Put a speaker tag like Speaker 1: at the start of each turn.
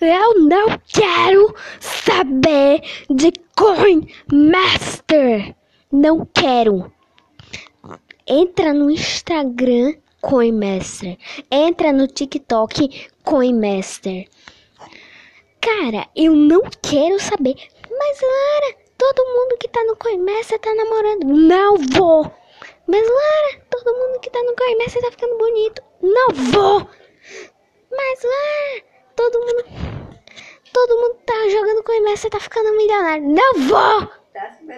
Speaker 1: Eu não quero saber de Coin Master. Não quero. Entra no Instagram Coin Master. Entra no TikTok Coin Master. Cara, eu não quero saber. Mas Lara, todo mundo que tá no Coimessa tá namorando. Não vou. Mas Lara, todo mundo que tá no Coimessa tá ficando bonito. Não vou. Mas Lara, todo mundo todo mundo tá jogando Coimessa tá ficando milionário. Não vou.